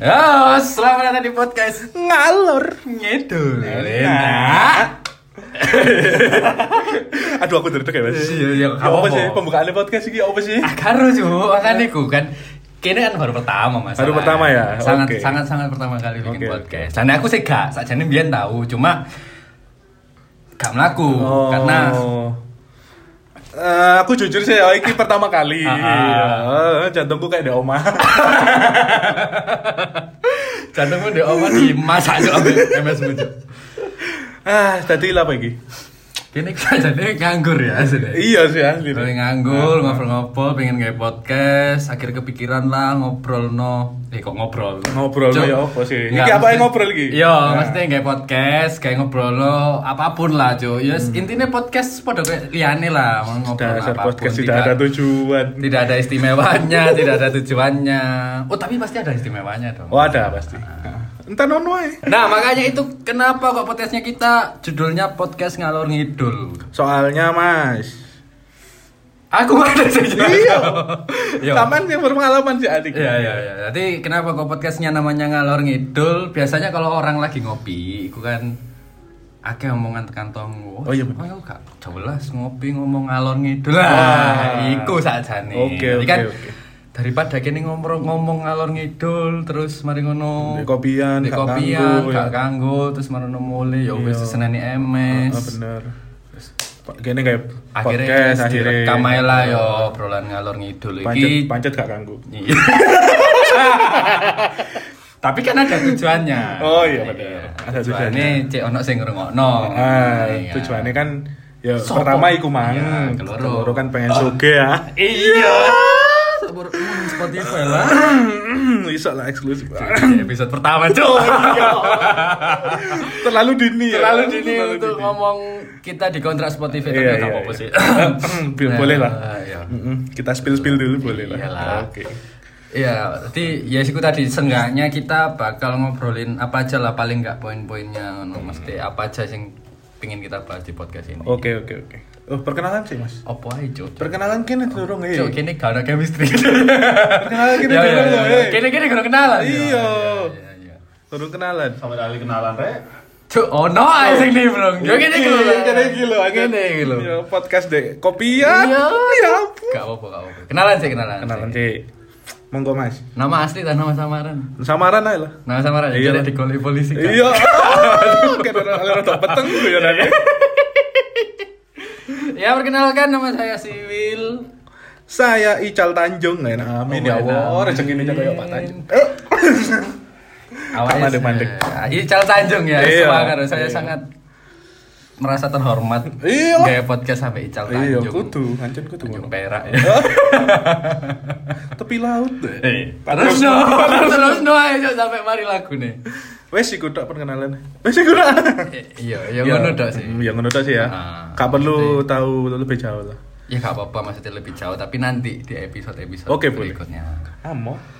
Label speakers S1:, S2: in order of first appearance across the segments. S1: Halo, Ya, selamat datang di podcast
S2: ngalor
S1: Ngedul Nah,
S2: Enak. aduh aku duduk ya mas
S1: Iya, iya,
S2: Ya, apa
S1: apa?
S2: sih pembukaan podcast ini apa sih
S1: Akaru cu, makanya ku kan Kini kan baru pertama mas
S2: Baru pertama ya?
S1: Sangat,
S2: Oke.
S1: sangat, sangat pertama kali bikin
S2: Oke.
S1: podcast Dan aku sih gak, sajane biar tahu Cuma Gak melaku,
S2: Oh.
S1: karena
S2: Eh, aku jujur sih, oh, ini pertama kali
S1: Ah, ah.
S2: Eh, jantungku kayak di oma
S1: Jantungku di oma di masa cu Emas bucu
S2: ah tadi apa ini
S1: Kini sajane nganggur ya asli
S2: iya sih asli
S1: Lagi nganggur, ngobrol-ngobrol, pengen kayak podcast Akhir kepikiran lah, ngobrol no Eh kok ngobrol?
S2: ngobrol
S1: Cuk,
S2: ya apa sih ini
S1: nggak,
S2: apa yang
S1: maksudnya-
S2: ngobrol lagi Ya.
S1: Iya, maksudnya kayak podcast, kayak ngobrol lo apapun lah, cuy. Ya intinya podcast pada kayak liane lah, mau ngobrol
S2: Hmm. dasar
S1: apapun.
S2: podcast tidak ada tujuan
S1: tidak ada istimewanya, tidak ada tujuannya. Oh, tapi pasti ada istimewanya dong.
S2: oh ada pasti
S1: Ah.
S2: entar nono ae.
S1: Nah, makanya itu kenapa kok podcastnya kita judulnya podcast ngalor ngidul.
S2: soalnya mas
S1: Aku nggak ada sih.
S2: Iya.
S1: Iya.
S2: Taman yang berpengalaman sih adik.
S1: Iya iya iya. Jadi kenapa kok podcastnya namanya ngalor ngidul? Biasanya kalau orang lagi ngopi, itu kan akeh omongan tekan tonggo.
S2: Oh, iya, bener.
S1: bener. Oh, gak jelas ngopi ngomong ngalor ngidul.
S2: Wah.
S1: Nah, iku sakjane.
S2: Oke,
S1: Jadi
S2: oke,
S1: kan,
S2: oke.
S1: Daripada kene ngomong ngomong ngalor ngidul terus mari ngono.
S2: Di kopian,
S1: Di
S2: gak
S1: kopian,
S2: kanggo,
S1: gak
S2: ya.
S1: kanggo terus mari ngono mulai ya wis
S2: Iya.
S1: seneni
S2: Ah,
S1: emes.
S2: bener. Gini kayak
S1: Akhirnya
S2: podcast akhirnya.
S1: direkam ae lah yo ya, obrolan ngalor ngidul
S2: Pancet,
S1: iki.
S2: pancet gak ganggu.
S1: Iya. Tapi kan ada tujuannya.
S2: Oh, iya, bener. Ada
S1: Ada tujuannya.
S2: tujuannya.
S1: Cek ono sing ngrungokno.
S2: Ah,
S1: Iya.
S2: tujuannya kan ya
S1: Sopo?
S2: pertama iku mang.
S1: Iya, keloro.
S2: Keloro kan pengen suge ya.
S1: Iya. Sebur hmm, Spotify lah.
S2: Bisa lah eksklusif.
S1: Di episode pertama, cuy.
S2: Terlalu dini
S1: Oh, iya.
S2: ya.
S1: Terlalu dini
S2: Iya. Terlalu
S1: untuk
S2: dini.
S1: ngomong kita di kontrak Spotify tapi
S2: Iya,
S1: nggak
S2: iya,
S1: apa-apa
S2: iya.
S1: sih.
S2: Bil- boleh lah.
S1: Nah, Iya.
S2: Mm-mm, Kita spill-spill dulu boleh
S1: Iyalah.
S2: lah. Oke.
S1: Iya, jadi ya siku tadi senggaknya kita bakal ngobrolin apa aja lah paling nggak poin-poinnya,
S2: Hmm.
S1: ngono. mesti apa aja yang pingin kita bahas di podcast ini.
S2: Oke, oke, oke. Oh, perkenalan sih, Mas.
S1: Apa aja, Cuk?
S2: Perkenalan kene dorong
S1: Cuk,
S2: ya.
S1: kini gak ada chemistry.
S2: Perkenalan kene
S1: Ya, ya,
S2: dorong
S1: ya,
S2: ya.
S1: ya. Kini kini gak kenalan.
S2: Iya.
S1: iya, iya.
S2: Dorong kenalan.
S3: sama kali kenalan rek
S1: Cuk, ono ae sing nih, Bro. Yo kini iki lho.
S2: Iya, Kene iki lho,
S1: Kene iki lho.
S2: Ya, podcast deh. Kopian.
S1: Iya.
S2: Ya ampun.
S1: Gak apa-apa, gak apa-apa. Kenalan sih, kenalan.
S2: Kenalan
S1: sih.
S2: sih. Monggo Mas.
S1: Nama asli dan nama samaran.
S2: Samaran ae lah.
S1: Nama samaran
S2: Iya.
S1: jadi di polisi. kan?
S2: Iya. Kene ora tok peteng
S1: gitu
S2: ku ya nanti.
S1: Ya perkenalkan nama saya Siwil.
S2: Saya Ical Tanjung ya. Amin
S1: Oh,
S2: ya Allah. Rezekine jaga ya Pak Tanjung. Eh,
S1: Awalnya
S2: Kak mandek-mandek.
S1: Ical Tanjung ya,
S2: Iya.
S1: semangat. Saya
S2: Iya.
S1: sangat merasa terhormat.
S2: Iya.
S1: Gaya podcast sampai Ical
S2: Iya,
S1: Tanjung.
S2: kudu, ngancen kudu.
S1: Tanjung
S2: ngono.
S1: Perak ya.
S2: Tepi laut.
S1: Eh, terus no, terus no ayo Cok, sampai mari lagu nih.
S2: Wes iku tok perkenalan. Wes iku tok.
S1: Eh, Iya, ya ngono tok sih.
S2: Hmm, Ya ngono tok sih ya.
S1: Ah,
S2: Gak perlu tahu lebih jauh lah.
S1: Ya gak apa-apa maksudnya lebih jauh tapi nanti di episode-episode
S2: Oke, boleh.
S1: berikutnya.
S2: Amo.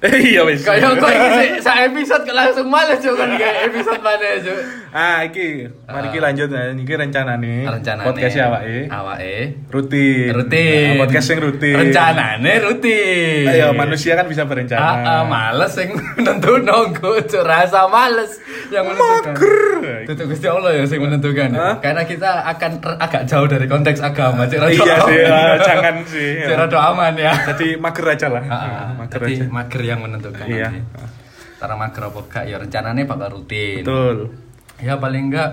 S2: Eh iya wes.
S1: Kayak kok ini sih, sa episode kok langsung males Cok, kan kayak episode mana Cok.
S2: Ah, iki mari ki lanjut ya. Iki rencanane.
S1: Rencanane
S2: podcast awake.
S1: Awake
S2: Rutin.
S1: rutin.
S2: Nah, podcast yang rutin.
S1: Rencanane rutin.
S2: Ayo manusia kan bisa berencana.
S1: Ah, ah, males yang menentu nonggo Cuk. rasa males yang menentukan.
S2: Mager.
S1: Tutup Gusti Allah ya yang menentukan.
S2: Hah?
S1: Karena kita akan ter- agak jauh dari konteks agama. Cik, rada
S2: Iya sih,
S1: aman.
S2: ah, jangan sih.
S1: Cik, rada aman ya.
S2: Jadi mager aja lah.
S1: Ah, ah,
S2: Ah, mager
S1: Jadi
S2: aja.
S1: mager yang menentukan.
S2: Iya.
S1: nanti. Antara mager apa enggak ya rencananya bakal rutin.
S2: Betul.
S1: Ya paling enggak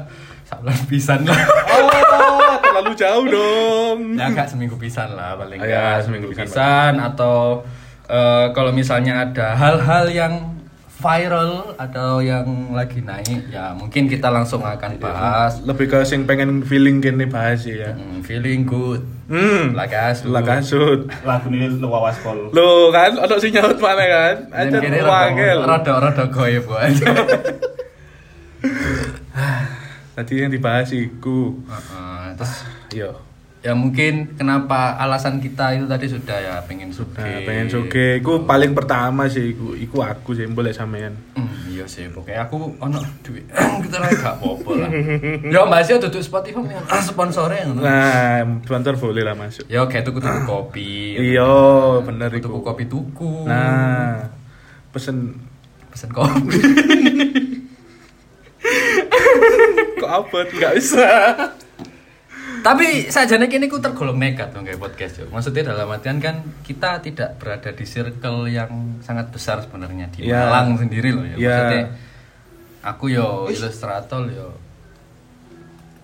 S1: sebulan pisan lah.
S2: Oh, terlalu jauh dong.
S1: Ya enggak seminggu pisan lah paling
S2: Ah, ya,
S1: enggak
S2: seminggu pisan,
S1: atau eh, kalau misalnya ada hal-hal yang viral atau yang lagi naik ya mungkin kita langsung
S2: Iya.
S1: akan bahas
S2: Lebih ke sing pengen feeling gini bahas sih ya.
S1: Hmm, feeling good
S2: Hmm.
S1: lagas
S2: Lah kasut.
S3: lagu ini lu wawas pol
S2: Lo kan, ada sing nyaut mana kan? Aja wangel.
S1: rada rada goib wae.
S2: Tadi yang dibahas iku. Iya.
S1: Heeh, terus
S2: Yo.
S1: ya mungkin kenapa alasan kita itu tadi sudah ya pengen suge
S2: Nah, pengen soge, iku paling pertama sih iku, iku aku sih boleh sampean.
S1: Hmm, iya sih, pokoknya aku ono duit kita lagi gak apa-apa lah Ya mbak Sia duduk Spotify punya sponsornya Ah, ngono.
S2: Nah, banter boleh lah masuk.
S1: Ya kayak tuku tuku kopi
S2: Iya, bener
S1: Tuku
S2: iku.
S1: Nah. kopi tuku
S2: Nah, pesen
S1: pesen kopi.
S2: Kok abot nggak bisa.
S1: Tapi sajane kini ku tergolong nekat dong kayak podcast yo. Maksudnya dalam artian kan kita tidak berada di circle yang sangat besar sebenarnya di
S2: Ya.
S1: Malang sendiri loh ya.
S2: Ya.
S1: Maksudnya aku yo ilustrator yo.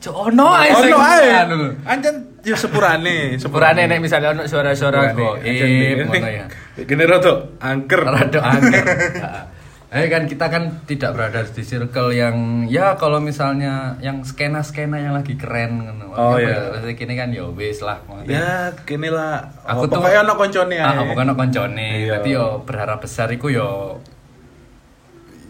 S1: Cok ono ae
S2: Oh,
S1: sing
S2: no,
S1: anu lho.
S2: Anjan ya sepurane,
S1: Sepurane nek misalnya ono suara-suara goib ngono ya.
S2: Gini rodo, angker.
S1: Rada angker. Heeh. Eh kan kita kan tidak berada di circle yang ya kalau misalnya yang skena-skena yang lagi keren ngono.
S2: Oh,
S1: Ya,
S2: iya.
S1: maksudnya kini kan yo wis lah. maksudnya.
S2: Ya, gini lah.
S1: aku
S2: Oh,
S1: tuh
S2: pokoknya ono koncone
S1: Ah,
S2: ae.
S1: aku kan koncone
S2: Iya.
S1: tapi yo berharap besar iku yo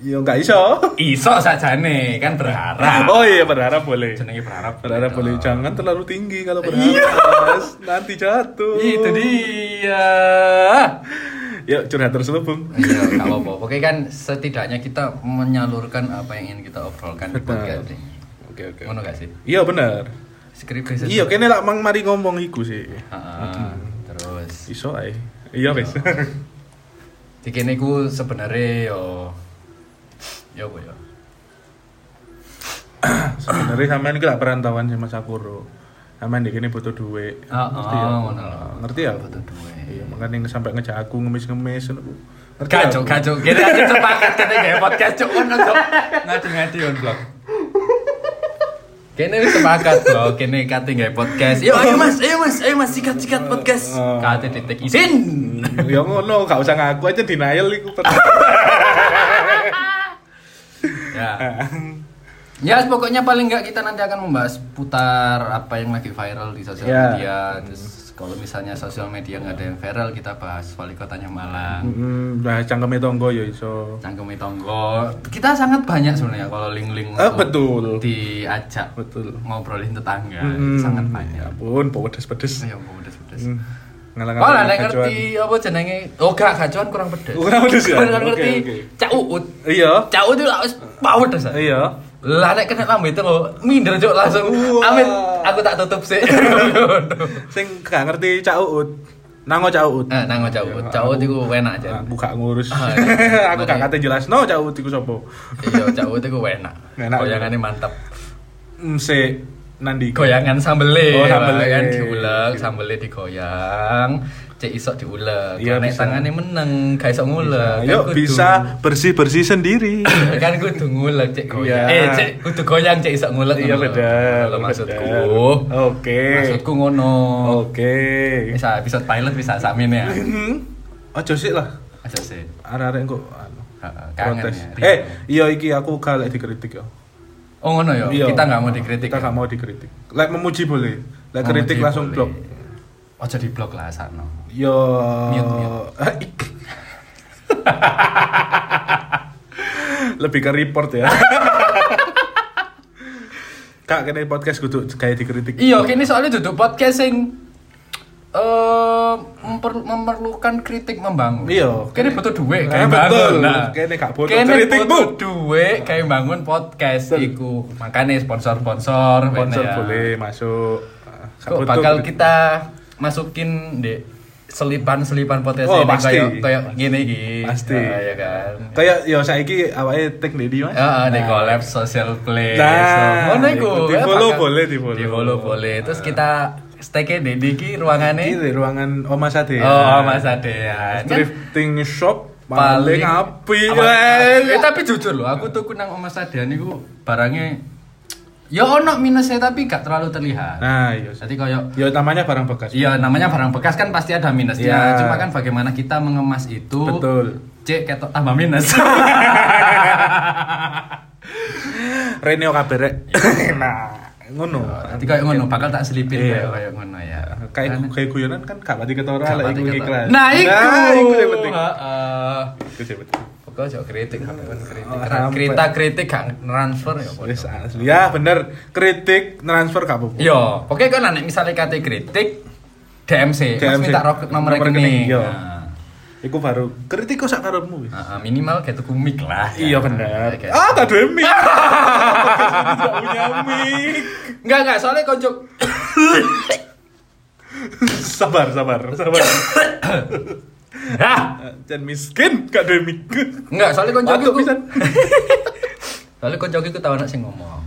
S2: Ya nggak iso.
S1: iso sajane kan berharap
S2: Oh iya berharap boleh.
S1: jenenge berharap
S2: Berharap
S1: gitu.
S2: boleh. Jangan terlalu tinggi kalau berharap. Nanti jatuh.
S1: Iya. itu dia
S2: Yuk curhat terselubung.
S1: Iya, nggak apa-apa. Oke kan setidaknya kita menyalurkan apa yang ingin kita obrolkan di
S2: Betul.
S1: podcast ini.
S2: Oke oke.
S1: Ngono gak sih?
S2: Iya benar.
S1: Skripnya sih.
S2: Iya kene lak mang mari ngomong iku sih.
S1: Ah. Heeh, Terus
S2: Iso ae. Iya wis.
S1: iki niku sebenarnya yo yo apa yo.
S2: Sebenarnya sampean iki lak perantauan sama Sakuro. Sampean iki kene butuh duit.
S1: Heeh,
S2: Ngerti ya?
S1: Ah, ngono lho.
S2: Ngerti ya?
S1: Butuh duit.
S2: Iya, makanya sampai ngejak aku ngemis-ngemis ngono. ku. Ngerti ya?
S1: Kacau, kacau. Kita aja sepakat kita kayak podcast cuk ono cuk. Ngadi-ngadi on blog. Kene wis sepakat bro, kene kate gawe podcast. Yo ayo Mas, ayo Mas, ayo Mas sikat-sikat podcast. Kate titik izin.
S2: ya ngono, gak usah ngaku aja denial iku. Eh.
S1: Ya. Ya, pokoknya paling nggak kita nanti akan membahas putar apa yang lagi viral di sosial
S2: Ya.
S1: media. Terus kalau misalnya sosial media nggak ada yang viral, kita bahas wali kotanya Malang.
S2: Hmm, nah cangkeme tonggo ya iso.
S1: Cangkeme Tonggo. Kita sangat banyak sebenarnya kalau link-link
S2: Eh,
S1: untuk
S2: betul.
S1: diajak
S2: Betul.
S1: ngobrolin tetangga.
S2: Hmm,
S1: Sangat banyak.
S2: Ya ampun, pedes-pedes.
S1: Ya ampun pedes-pedes.
S2: Hmm.
S1: Kalau
S2: Ngalang-ngalang.
S1: ada yang
S2: kacuan.
S1: Oh, ngerti apa jenenge? Oh, gak kacuan kurang pedes.
S2: Kurang pedes ya?
S1: Kalau nggak
S2: Oke,
S1: ngerti
S2: oke.
S1: cak uut.
S2: Iya.
S1: Cak uut itu lah wis pau pedes. ah.
S2: Iya.
S1: Lah nek kena lambe itu lo minder cuk langsung.
S2: Wah.
S1: Amin, aku tak tutup Eh, sih.
S2: Sing gak ngerti Cak Uut. Nango Cak Uut.
S1: Nah, nang cak
S2: Ya,
S1: uut. Cak uut iku enak aja.
S2: Aku gak ngurus.
S1: Ah, iya.
S2: Aku gak kate jelas no Cak Uut iku sapa.
S1: Iya, cak uut iku enak.
S2: Enak. ya.
S1: Goyangannya mantap.
S2: Hmm, sik nandi.
S1: goyangan sambele
S2: Oh, sambele.
S1: kan diuleg sambele digoyang cek isok diuleg
S2: Iya,
S1: ya, nek
S2: bisa.
S1: tangane meneng gak iso nguleg Kan
S2: Ayo
S1: kudu-
S2: bisa bersih-bersih sendiri.
S1: kan kudu nguleg cek goyang
S2: Iya.
S1: eh cek kudu goyang cek isok nguleg ngono
S2: Iya
S1: lho.
S2: bener.
S1: Ngono lho maksudku
S2: bener. Oke.
S1: maksudku ngono
S2: Oke.
S1: bisa episode pilot bisa samin ya
S2: Hmm. Ojo sik lah.
S1: aja sih
S2: Arek-arek kok anu,
S1: Heeh, kangen
S2: protes.
S1: ya
S2: Eh, iya iki aku kalek dikritik ya.
S1: oh ngono ya
S2: Iya.
S1: kita nggak mau dikritik
S2: Kita
S1: ya?
S2: nggak mau dikritik. Lek memuji boleh. Lek
S1: Mau
S2: kritik
S1: di-
S2: langsung
S1: boleh.
S2: blok.
S1: ojo di blok lah sakno
S2: Yo.
S1: Mute, mute.
S2: Lebih ke report ya. Kak, kena podcast kudu kayak dikritik.
S1: Iya, kini soalnya duduk podcast sing eh, memper- memerlukan kritik membangun.
S2: Iya.
S1: kini butuh duit,
S2: Eh,
S1: kayak
S2: betul.
S1: bangun. Nah,
S2: Kene gak butuh
S1: Kene
S2: kritik,
S1: butuh
S2: Bu.
S1: duit, kayak bangun podcast iku. Makanya sponsor-sponsor,
S2: Sponsor
S1: bener ya.
S2: boleh masuk. Ah, gak
S1: Kok
S2: butuh
S1: bakal
S2: kritik.
S1: kita masukin di selipan-selipan podcast
S2: Oh,
S1: ini
S2: pasti.
S1: kayak kayak gini gini.
S2: Pasti.
S1: Ah, ya kan.
S2: Kayak yo saiki awake tek ndi Mas?
S1: Ah, di collab social play.
S2: Nah,
S1: So, ngono iku.
S2: di
S1: ya,
S2: follow
S1: bakal-
S2: boleh, di follow.
S1: Di follow boleh. Terus kita stake di iki ruangane.
S2: Ini di ruangan Oma Sade.
S1: Oh, Mas Adean. Kan
S2: Drifting shop paling api.
S1: Apa- Eh, tapi jujur loh, aku tuh nang Mas Adean iku barangnya ya ono minusnya tapi gak terlalu terlihat.
S2: Nah, yo.
S1: Jadi koyo
S2: Yo namanya barang bekas.
S1: Iya namanya barang bekas kan pasti ada minusnya.
S2: Iya.
S1: Cuma kan bagaimana kita mengemas itu.
S2: Betul.
S1: Cek ketok tambah minus.
S2: Reneo kabarek.
S1: Iya.
S2: nah, ngono.
S1: Nanti kayak ngono bakal tak selipin
S2: Iya.
S1: kayak kayak ngono ya.
S2: Kayak kayak guyonan kan gak pati ketora
S1: Gak
S2: lah
S1: pati
S2: iku
S1: ketok.
S2: iklan.
S1: Nah, iku.
S2: iku yang penting.
S1: Heeh.
S2: Iku yang penting.
S1: Pokoknya jauh kritik, sampean kritik.
S2: Oh,
S1: Ra-
S2: sampe.
S1: Kritik kritik gak transfer ya. bodoh.
S2: Wis asli. Ya bener, kritik transfer gak apa-apa.
S1: Yo, pokoknya kan nek misalnya kate kritik DMC, Mas
S2: DMC.
S1: minta roket nomor
S2: Nomor rekening, iya.
S1: rekening.
S2: yo.
S1: Nah,
S2: Iku baru kritik kok sak karepmu wis.
S1: heeh, minimal kayak tuku mic lah.
S2: Iya
S1: kan.
S2: bener.
S1: Kayak-
S2: Ah, tak duwe mic. Gak punya mic.
S1: Enggak enggak, soalnya konjuk
S2: Sabar, sabar, sabar.
S1: Hah?
S2: Jan miskin gak ada mikir.
S1: Enggak, Ah, soalnya koncoku
S2: Waduh,
S1: ku.
S2: pisan.
S1: soalnya koncoku ku tau anak sing ngomong.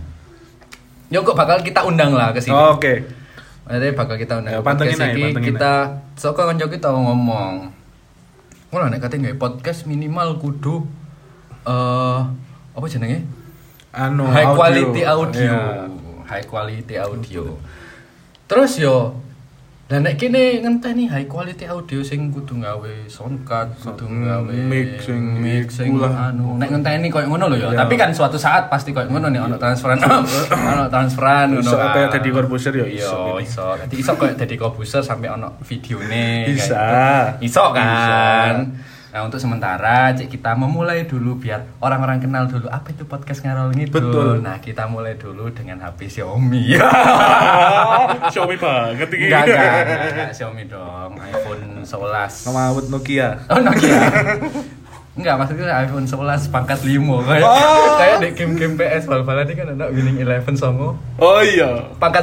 S1: Yo kok bakal kita undang lah ke sini.
S2: Oke.
S1: Maksudnya bakal kita undang
S2: Ya,
S1: ke podcast
S2: pantengin aja,
S1: iki,
S2: pantengin
S1: kita soko koncoku tau ngomong. Ngono nek kate nggak podcast minimal kudu eh apa jenenge?
S2: Anu
S1: High
S2: audio.
S1: quality audio.
S2: Iya.
S1: High quality audio. Terus yo lah nek kene ngenteni high quality audio sing kudu gawe soundcard, kudu gawe
S2: mixing,
S1: mixing
S2: iku lah.
S1: anu. Nek ngenteni koyo ngono lho ya.
S2: Iya.
S1: Tapi kan suatu saat pasti koyo ngono nih ono transferan, ono transferan ngono.
S2: Iso
S1: kan.
S2: kayak Deddy Corbuzier ya,
S1: Iya,
S2: iso ini.
S1: iso. Dadi iso koyo Deddy Corbuzier sampai ono videone.
S2: Bisa.
S1: kayak gitu. Iso kan.
S2: Bisa.
S1: Nah untuk sementara cek kita memulai dulu biar orang-orang kenal dulu apa itu podcast ngarol gitu.
S2: Betul.
S1: Nah kita mulai dulu dengan HP Xiaomi. Ya.
S2: Ah, Xiaomi banget ini.
S1: enggak, enggak, enggak, enggak, Xiaomi dong. iPhone 11.
S2: Sama awet Nokia.
S1: Oh Nokia. Enggak maksudnya iPhone 11 pangkat 5 kayak
S2: Oh.
S1: kayak di game-game PS bal-balan ini kan ada winning 11 songo
S2: Oh iya.
S1: pangkat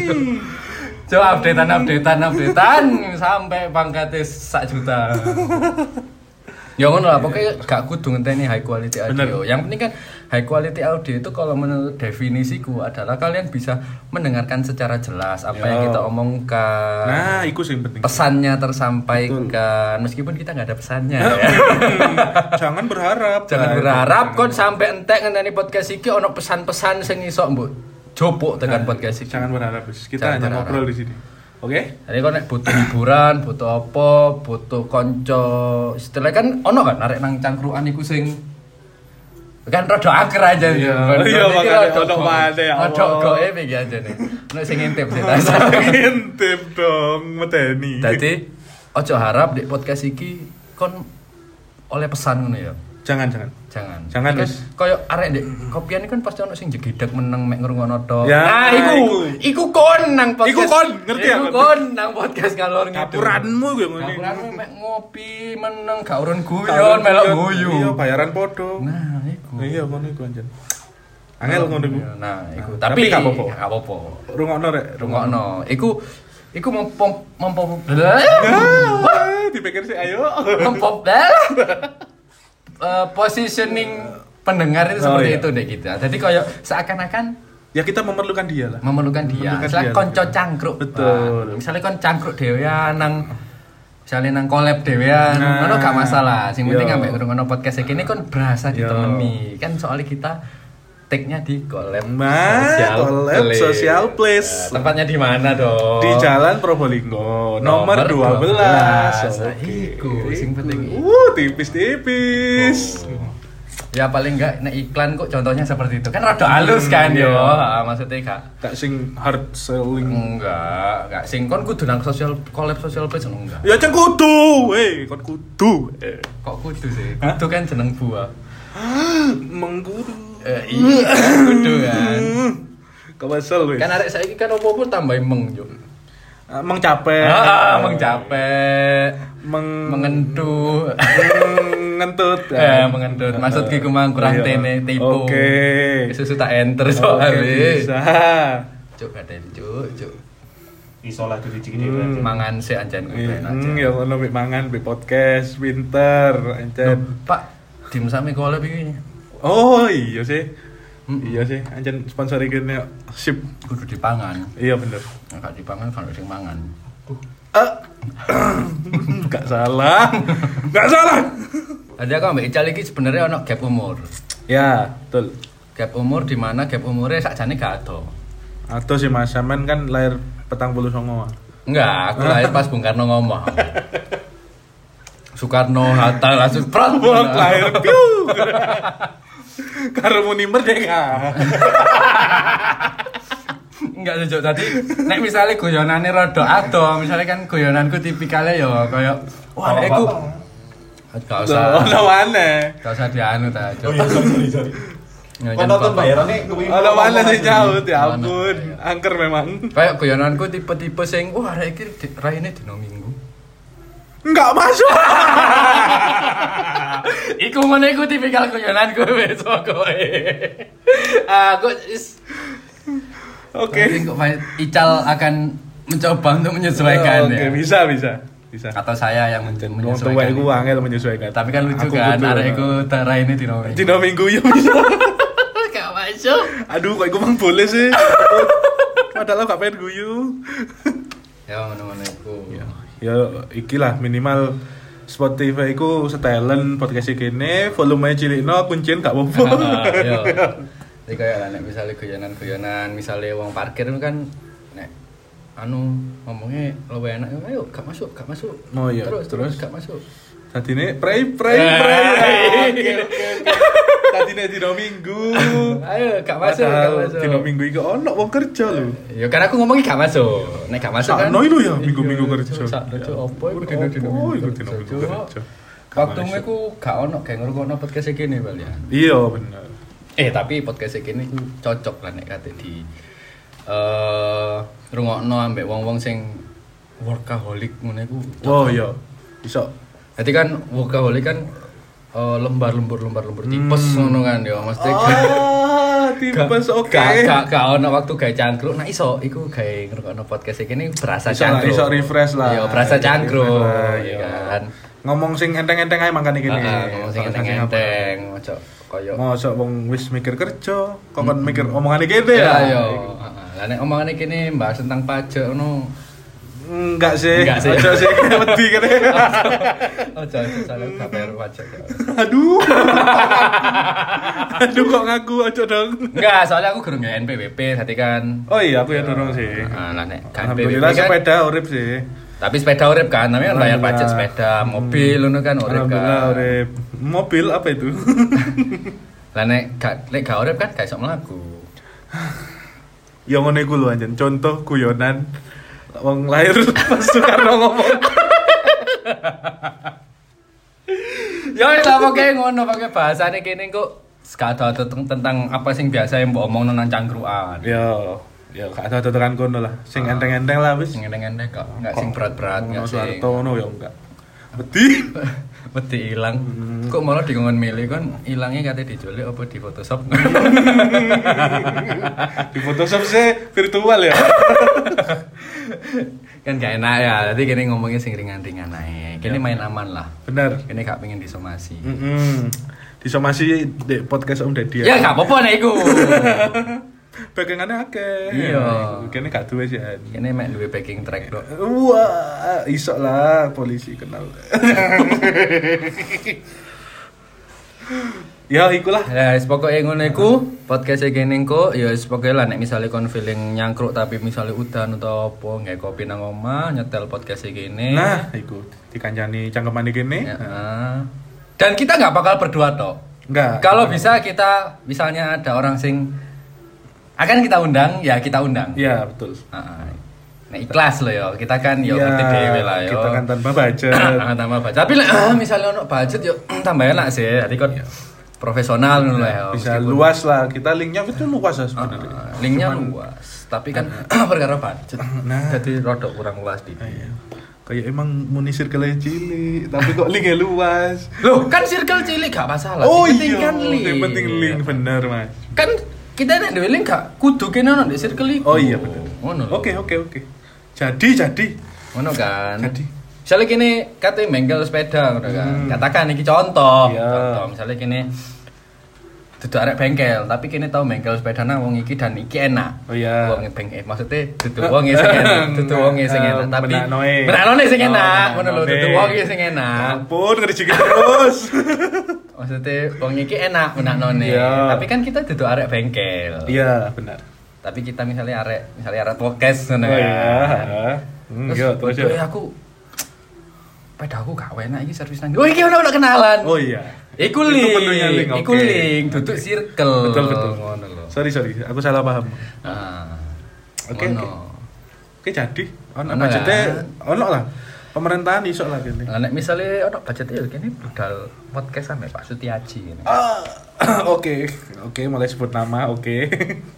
S1: 100. Coba updatean updatean updatean sampai pangkatnya sak juta. Ya ngono lah
S2: Iya,
S1: pokoknya gak kudu ngenteni high quality audio. Yang penting kan high quality audio itu kalau menurut definisiku adalah kalian bisa mendengarkan secara jelas apa yang
S2: Yo.
S1: kita omongkan.
S2: Nah, itu sih yang penting.
S1: pesannya tersampaikan meskipun kita nggak ada pesannya ya.
S2: Jangan berharap.
S1: jangan
S2: Nah,
S1: berharap kon sampai entek ngenteni podcast iki ono pesan-pesan sing iso mbok jopuk tekan podcast iki
S2: Nah, Jangan berharap, Bos. Kita
S1: Jangan
S2: hanya
S1: berharap.
S2: ngobrol di sini. Oke?
S1: Jadi kau nek butuh hiburan, butuh apa, butuh konco. Setelah kan ono kan narik nang cangkruan iku sing kan rada aker aja
S2: Iya,
S1: Kon- kon
S2: iya,
S1: iki
S2: makanya
S1: rada
S2: ono
S1: go-
S2: mana ya
S1: Rada
S2: Allah.
S1: goib iki aja nih. Nek sing ngintip sih.
S2: Intip dong, medeni.
S1: Dadi ojo harap di podcast iki kon oleh pesan ngono ya.
S2: Jangan, jangan.
S1: Jangan.
S2: Jangan,
S1: Kan
S2: Wis.
S1: koyo arek ndek kopian kan pasti ono sing jegedeg meneng mek ngrungokno tok.
S2: Ya,
S1: nah, iku iku kon nang podcast.
S2: Iku kon, ngerti ya,
S1: Iku
S2: kon?
S1: kon nang podcast kalor ngidul.
S2: Ngapuranmu gue ngene.
S1: Ngapuranmu mek ngopi meneng gak urun guyon melok guyu.
S2: Iya, bayaran podo.
S1: Nah, iku.
S2: Iya, ngono iku anjen. Angel ngono iku.
S1: Nah, iku.
S2: Tapi
S1: Tapi
S2: gak apa-apa.
S1: Gak apa-apa.
S2: Rungokno rek,
S1: Rungokno. Iku iku mempom mempom
S2: Ah, Dipikir sih ayo.
S1: mempop Eh, positioning pendengar itu
S2: Oh,
S1: seperti
S2: iya.
S1: itu deh kita. Jadi kayak seakan-akan
S2: Ya kita memerlukan dia lah.
S1: memerlukan dia.
S2: Memerlukan
S1: Misalnya
S2: dia.
S1: konco cangkruk. Nah,
S2: Betul.
S1: misalnya kon cangkruk dhewean nang misalnya nang collab dhewean,
S2: Nah.
S1: ngono gak masalah. Sing penting
S2: Yo.
S1: ambek ngrungokno podcast iki ini kon berasa
S2: Yo.
S1: ditemani. Kan soalnya kita take-nya di collab
S2: Nah, collab social place.
S1: Nah, tempatnya di mana dong?
S2: Di Jalan Probolinggo Oh. nomor 12.
S1: Nah, iku, sing penting iku.
S2: Uh, tipis-tipis.
S1: Ya paling enggak nek iklan kok contohnya seperti itu. Kan rada halus kan
S2: Hmm,
S1: yo.
S2: iya.
S1: Ah, Maksudnya gak
S2: Tak sing hard selling.
S1: enggak, enggak sing kon kudu nang sosial collab sosial page ngono enggak.
S2: Ya ceng kudu, eh kon kudu. Eh,
S1: Kok kudu sih? Kudu kan jeneng buah.
S2: Mengguru.
S1: Eh, iya kan kudu kan.
S2: Hmm. Kau kesel weh.
S1: Kan arek saiki kan opo-opo tambah meng yo.
S2: Ah, Mengcapek.
S1: Ah, meng capek,
S2: Meng-
S1: mengentu.
S2: mengentut.
S1: Eh,
S2: ya.
S1: mengendut. Maksudku iku mang kurang
S2: Iya.
S1: tene tipu.
S2: Oke.
S1: Susu tak enter
S2: Oke,
S1: soalnya.
S2: bisa.
S1: Cuk, ada cuk, cuk.
S3: Isolah dari Cikini berarti.
S1: Mangan sih anjan kudu
S2: Iya,
S1: enak.
S2: hmm, ya ngono mbek mangan mbek podcast winter
S1: Loh,
S2: anjen.
S1: Pak, dim sami collab iki
S2: Oh, iya sih.
S1: Hmm.
S2: Iya sih, anjen sponsori kene sip.
S1: kudu dipangan.
S2: Iya bener.
S1: Enggak dipangan kan sing mangan.
S2: Eh. Gak salah. Gak salah.
S1: Tadi aku ambek Ical iki sebenarnya ono gap umur.
S2: Ya, betul.
S1: Gap umur di mana gap umurnya sakjane gak ada.
S2: Atau si Mas Saman kan lahir petang puluh songo.
S1: Enggak, aku lahir pas Bung Karno ngomong. Soekarno Hatta langsung prot.
S2: Wah, lahir piu. Karo muni merdeka.
S1: Enggak cocok tadi. Nek misalnya guyonane rada ado, misalnya kan guyonanku tipikalnya ya kaya wah nek iku gak
S2: Loh,
S1: usah.
S2: ono maneh.
S1: Gak usah dianu ta,
S3: Oh
S1: Cok.
S3: iya, sorry, sorry, sorry.
S1: Ya,
S3: Kau
S1: jangan
S3: nonton
S1: bapak.
S3: bayarannya kewin.
S2: Ono maneh sih nyaut ya
S1: Ono.
S2: ampun. Angker memang.
S1: Kayak guyonanku tipe-tipe sing wah arek iki di- raine dino Minggu.
S2: Enggak masuk.
S1: Iku meneh iku tipikal guyonanku besok kowe. Aku is
S2: Oke.
S1: Nanti kok Pak Ical akan mencoba untuk menyesuaikan
S2: Oh, Oke,
S1: ya.
S2: bisa bisa. bisa.
S1: atau saya yang men-
S2: Wong tua
S1: menyesuaikan
S2: iku angel menyesuaikan.
S1: tapi kan lucu
S2: Aku
S1: kan
S2: kudu,
S1: arek
S2: nah.
S1: iku darah ini di nomor
S2: Dino minggu ya bisa.
S1: gak masuk
S2: Aduh, kok iku mang boleh sih. Padahal gak pengen guyu.
S1: ya ngono-ngono iku
S2: Ya ikilah minimal Spotify ku setelan podcast kene, volume cilikno kuncin gak apa-apa.
S1: Nah, Yo. Jadi kayak lah, nek misalnya guyonan-guyonan, misalnya uang parkir itu kan nek anu ngomongnya lebih enak, ayo gak masuk, gak masuk.
S2: Oh, iya.
S1: Terus, terus,
S2: Terus?
S1: gak masuk.
S2: Tadi ini pray pray
S1: Ah,
S2: pray.
S1: ya,
S2: Tadi ini dino minggu.
S1: Ayo gak masuk, gak
S2: Padahal
S1: masuk.
S2: dino minggu iki ono wong kerja lho.
S1: Ya karena aku ngomongnya gak masuk. Nek gak masuk kan.
S2: Sakno itu ya minggu-minggu kerja.
S1: Sakno itu opo iku
S2: Iku
S1: dino dino
S2: opo iku
S1: minggu
S2: dino minggu
S1: kerja.
S2: kerja. Gak
S1: Waktumu
S2: masuk.
S1: iku gak ono gak ngrungokno podcast iki nih, Bal ya.
S2: Iya bener.
S1: Eh tapi podcast iki niku cocok lah nek kate di eh rungokno ambek wong-wong sing workaholic ngono iku.
S2: Oh iya. Iso
S1: Jadi kan workaholic kan eh, lembar lembur lembar lembur tipes
S2: Hmm.
S1: ngono kan ya mesti
S2: Oh. Ah, tipes oke.
S1: Gak gak gak ono waktu gawe cangkruk. Nah iso iku gawe ngrungokno podcast iki niku berasa
S2: Iso lah,
S1: cangkruk.
S2: iso refresh lah.
S1: Iya, berasa
S2: Iso
S1: cangkruk.
S2: refresh lah,
S1: Iya
S2: iya.
S1: kan.
S2: Ngomong sing enteng-enteng ae makan iki.
S1: Heeh, Ah, ngomong sing
S2: ya?
S1: enteng-enteng, ojo koyo
S2: Mosok wong wis mikir kerja, kok kon mikir omongan iki
S1: Ya,
S2: ya.
S1: yo. Heeh. Lah nek omongane kene bahas tentang pajak ngono.
S2: Enggak sih.
S1: Enggak sih.
S2: Ojo sih wedi kene.
S1: Ojo ojo salah gak bayar pajak. ya.
S2: Aduh. Aduh kok ngaku ojo dong.
S1: Enggak, soalnya aku gurung ya NPWP tadi kan.
S2: Oh iya, aku ya dorong sih.
S1: Nah, lah nek kan NPWP
S2: Alhamdulillah
S1: kan-
S2: sepeda urip sih.
S1: Tapi sepeda urip kan, tapi kan bayar pajak
S2: Alhamdulillah.
S1: sepeda, mobil ngono kan urip
S2: Alhamdulillah
S1: kan.
S2: urip. Mobil apa itu?
S1: Lah nek gak nek gak urip kan gak iso mlaku.
S2: ya ngono iku lho anjen. Contoh guyonan wong lahir pas Soekarno ngomong.
S1: Ya wis lah pokoke ngono pakai bahasane kene kok sekadar tentang, tentang apa sing biasa yang mbok omongno nang cangkruan.
S2: Yo, yo Ya, gak ada tekan kono lah. Sing enteng-enteng lah wis.
S1: Sing enteng-enteng kok, Ah. enggak sing berat-berat
S2: Ono
S1: enggak sing.
S2: Soeharto ngono ya enggak. Wedi.
S1: Wedi ilang. Kok malah di ngon milih kan ilangnya katanya diculik apa di Photoshop.
S2: Di Photoshop sih virtual ya.
S1: kan gak enak ya. Jadi kene ngomongnya sing ringan-ringan ae. Kene main aman lah.
S2: Bener.
S1: Kene gak pengen disomasi.
S2: Hmm. Heeh. Disomasi di podcast Om Deddy.
S1: Ya gak apa-apa nek iku.
S2: Bagangannya akeh.
S1: Iya.
S2: Kene gak duwe sih. An.
S1: Kene mek duwe backing track dok.
S2: Wah, iso lah polisi kenal. ya, ikulah.
S1: Ya, wis pokoke ngono iku, podcast e kene engko ya wis pokoke lah nek misale kon feeling nyangkruk tapi misale udan atau apa, nggae kopi nang omah, nyetel podcast e kene.
S2: Nah, iku dikancani cangkeman iki nih.
S1: Ya. Dan kita nggak bakal berdua toh.
S2: Enggak.
S1: Kalau bisa kita misalnya ada orang sing akan kita undang, ya kita undang.
S2: Iya, betul.
S1: Heeh. Nah, ikhlas loh yo. Kita kan yo
S2: Iya,
S1: ngerti dhewe lah ya. yo.
S2: Kita kan tanpa budget.
S1: Ah, tambah budget. Tapi lah, ah, misalnya ono budget yo tambah enak sih. Jadi kan profesional ngono lah yo.
S2: Iya. Bisa
S1: Meskipun-
S2: luas lah. Kita linknya itu luas lah sebenarnya.
S1: Ah, linknya luas, tapi kan perkara budget.
S2: Nah.
S1: Jadi rodok kurang luas di.
S2: Iya. Kayak emang muni circle cilik, tapi kok linknya luas.
S1: Loh,
S2: Oh,
S1: kan circle cilik gak masalah. Yang penting kan link. Iya.
S2: iya, yang penting link bener mas.
S1: Kan kita nek dhewe link gak kudu kene ono di circle iku.
S2: Oh iya bener.
S1: Ngono. lho.
S2: Oke oke oke. Jadi jadi.
S1: Ngono kan.
S2: Jadi. Hmm.
S1: Misalnya kini kate mengkel sepeda ngono kan. Katakan iki contoh.
S2: Iya.
S1: Contoh misalnya kini duduk arek bengkel, tapi kini tau bengkel sepeda nang wong iki dan iki enak.
S2: Oh iya.
S1: Wong bengkel maksudnya duduk wong ya, e sing enak, duduk
S2: Nah,
S1: wong e sing enak, tapi
S2: Menaknoe.
S1: menaknoe sing enak,
S2: eh, Oh,
S1: ngono lho, duduk
S2: menaknoe.
S1: wong e sing enak.
S2: Ampun ngerjeki terus.
S1: Maksudnya wong iki enak menaknone.
S2: Iya.
S1: Tapi kan kita duduk arek bengkel.
S2: Iya benar.
S1: Tapi kita misalnya arek, misalnya arek podcast ngono
S2: Oh
S1: kan.
S2: iya. Hmm,
S1: Terus,
S2: Yo terus yo.
S1: "Eh, aku sepeda aku gak enak iki servis nang. Oh iki ono ono kenalan.
S2: Oh iya.
S1: Iku
S2: Itu
S1: link,
S2: menunya link,
S1: iku
S2: oke.
S1: link, duduk circle.
S2: Betul betul.
S1: Oh, Ngono lho.
S2: Sorry sorry, aku salah paham.
S1: Ah.
S2: Oke,
S1: Ngono.
S2: Oke jadi. Ono
S1: Ono ya?
S2: budgetnya, ono lah. Pemerintahan iso lah gini.
S1: Nah, nek misalnya ono budget ya kene budal podcast sampe Pak Sutiaji ini.
S2: Ah, Oke, oke mulai sebut nama, oke.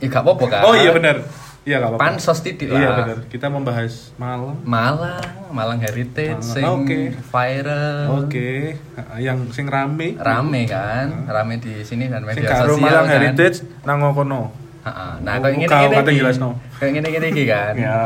S1: Ya gak apa-apa kan.
S2: Oh iya benar. Iya enggak apa-apa.
S1: Pansos titik lah.
S2: Iya benar. Kita membahas malam.
S1: Malang, Malang Heritage
S2: Malang,
S1: sing
S2: oke.
S1: viral.
S2: Oke, yang sing rame.
S1: Rame kan? Rame di sini dan
S2: Sing
S1: media
S2: karo
S1: sosial.
S2: Malang
S1: kan?
S2: Heritage nang kono.
S1: Ha-ha. Nah,
S2: Oh,
S1: kayak ngene
S2: kau
S1: ngene iki.
S2: kata
S1: Kan.
S2: jelasno.
S1: Ya. Kayak ngene ngene iki kan.
S2: Ya.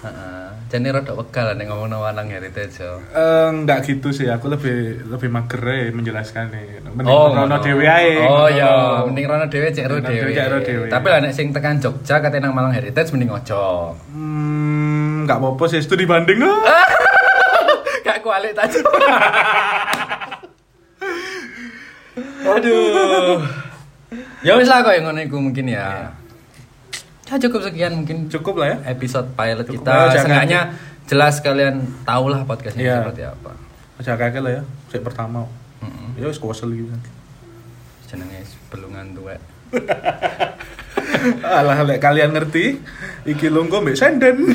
S1: Heeh. Jadi rada wekal nek ngomong Wanang Heritage. yo.
S2: Eh, enggak gitu sih, aku lebih lebih mager ya menjelaskan nih. Mending
S1: Oh, ngono.
S2: rono dhewe ae.
S1: Oh
S2: ngono.
S1: iya, mending rono dhewe cek ro
S2: Rono dhewe,
S1: dhewe.
S2: cek ro dhewe.
S1: Tapi lah nek sing tekan Jogja kate nang Malang Heritage mending ojo.
S2: Hmm, enggak apa-apa sih, studi banding ah.
S1: Gak kualik tadi. Aduh. Ya wis lah kok yang ngono iku mungkin
S2: Iya.
S1: ya. Ya cukup sekian mungkin
S2: Cukup lah ya.
S1: episode pilot
S2: Cukup
S1: kita.
S2: lah, jangan-
S1: Seenggaknya jelas kalian tahulah podcastnya
S2: Iya.
S1: seperti apa.
S2: Aja kakek lah ya, sik pertama. Ya wis kosel gitu.
S1: Jenenge belungan tuwek.
S2: Alah lek kalian ngerti, iki lungguh mbek senden.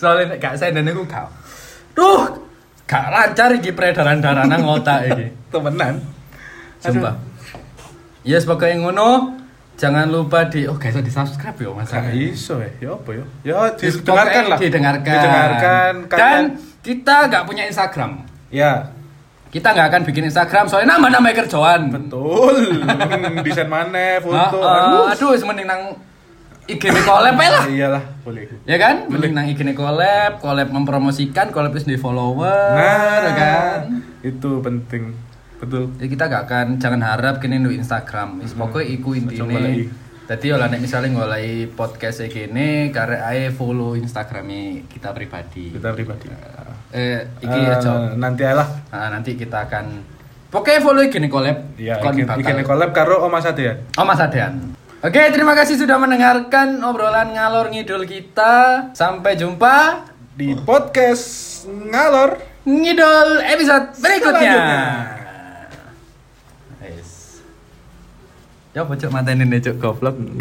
S1: Soalnya nek gak senden iku gak. Duh, gak lancar iki peredaran darah nang otak iki.
S2: Temenan.
S1: Sumpah. Ya yes, pokoknya ngono. Jangan lupa di oh guys, di subscribe yo Mas.
S2: Gak iso ya, ya apa ya? Ya didengarkan
S1: Pokoknya
S2: lah.
S1: Didengarkan.
S2: Didengarkan.
S1: Dan
S2: kalian-
S1: kita nggak punya Instagram.
S2: ya,
S1: Kita nggak akan bikin Instagram soalnya nama-nama kerjaan.
S2: betul. Hmm, Desain mana foto.
S1: Ah, ah,
S2: aduh.
S1: aduh, mending nang IG ne collab ae lah.
S2: Iyalah, boleh.
S1: Ya kan? Mending nang IG ne collab, collab mempromosikan, collab terus di follower, ya
S2: Nah.
S1: kan?
S2: Itu penting. Betul.
S1: Jadi kita gak akan jangan harap kini nu Instagram. Wis pokoke iku
S2: Hmm. Coba lagi.
S1: intine. Dadi yo lah nek misale ngolai podcast e kene karek ae follow Instagram e kita pribadi.
S2: Kita pribadi.
S1: Eh iki
S2: Eh,
S1: aja.
S2: nanti aja lah.
S1: Nah, nanti kita akan Pokoknya follow IG collab.
S2: Ya,
S1: Kon
S2: iki
S1: bakal-
S2: iki collab karo Oma Satya.
S1: Oh Mas Adean. Oke, terima kasih sudah mendengarkan obrolan ngalor ngidul kita. Sampai jumpa
S2: di podcast ngalor
S1: ngidul episode berikutnya.
S2: Selanjutnya.
S1: Yes. Ya bocok matain ini cuk goblok.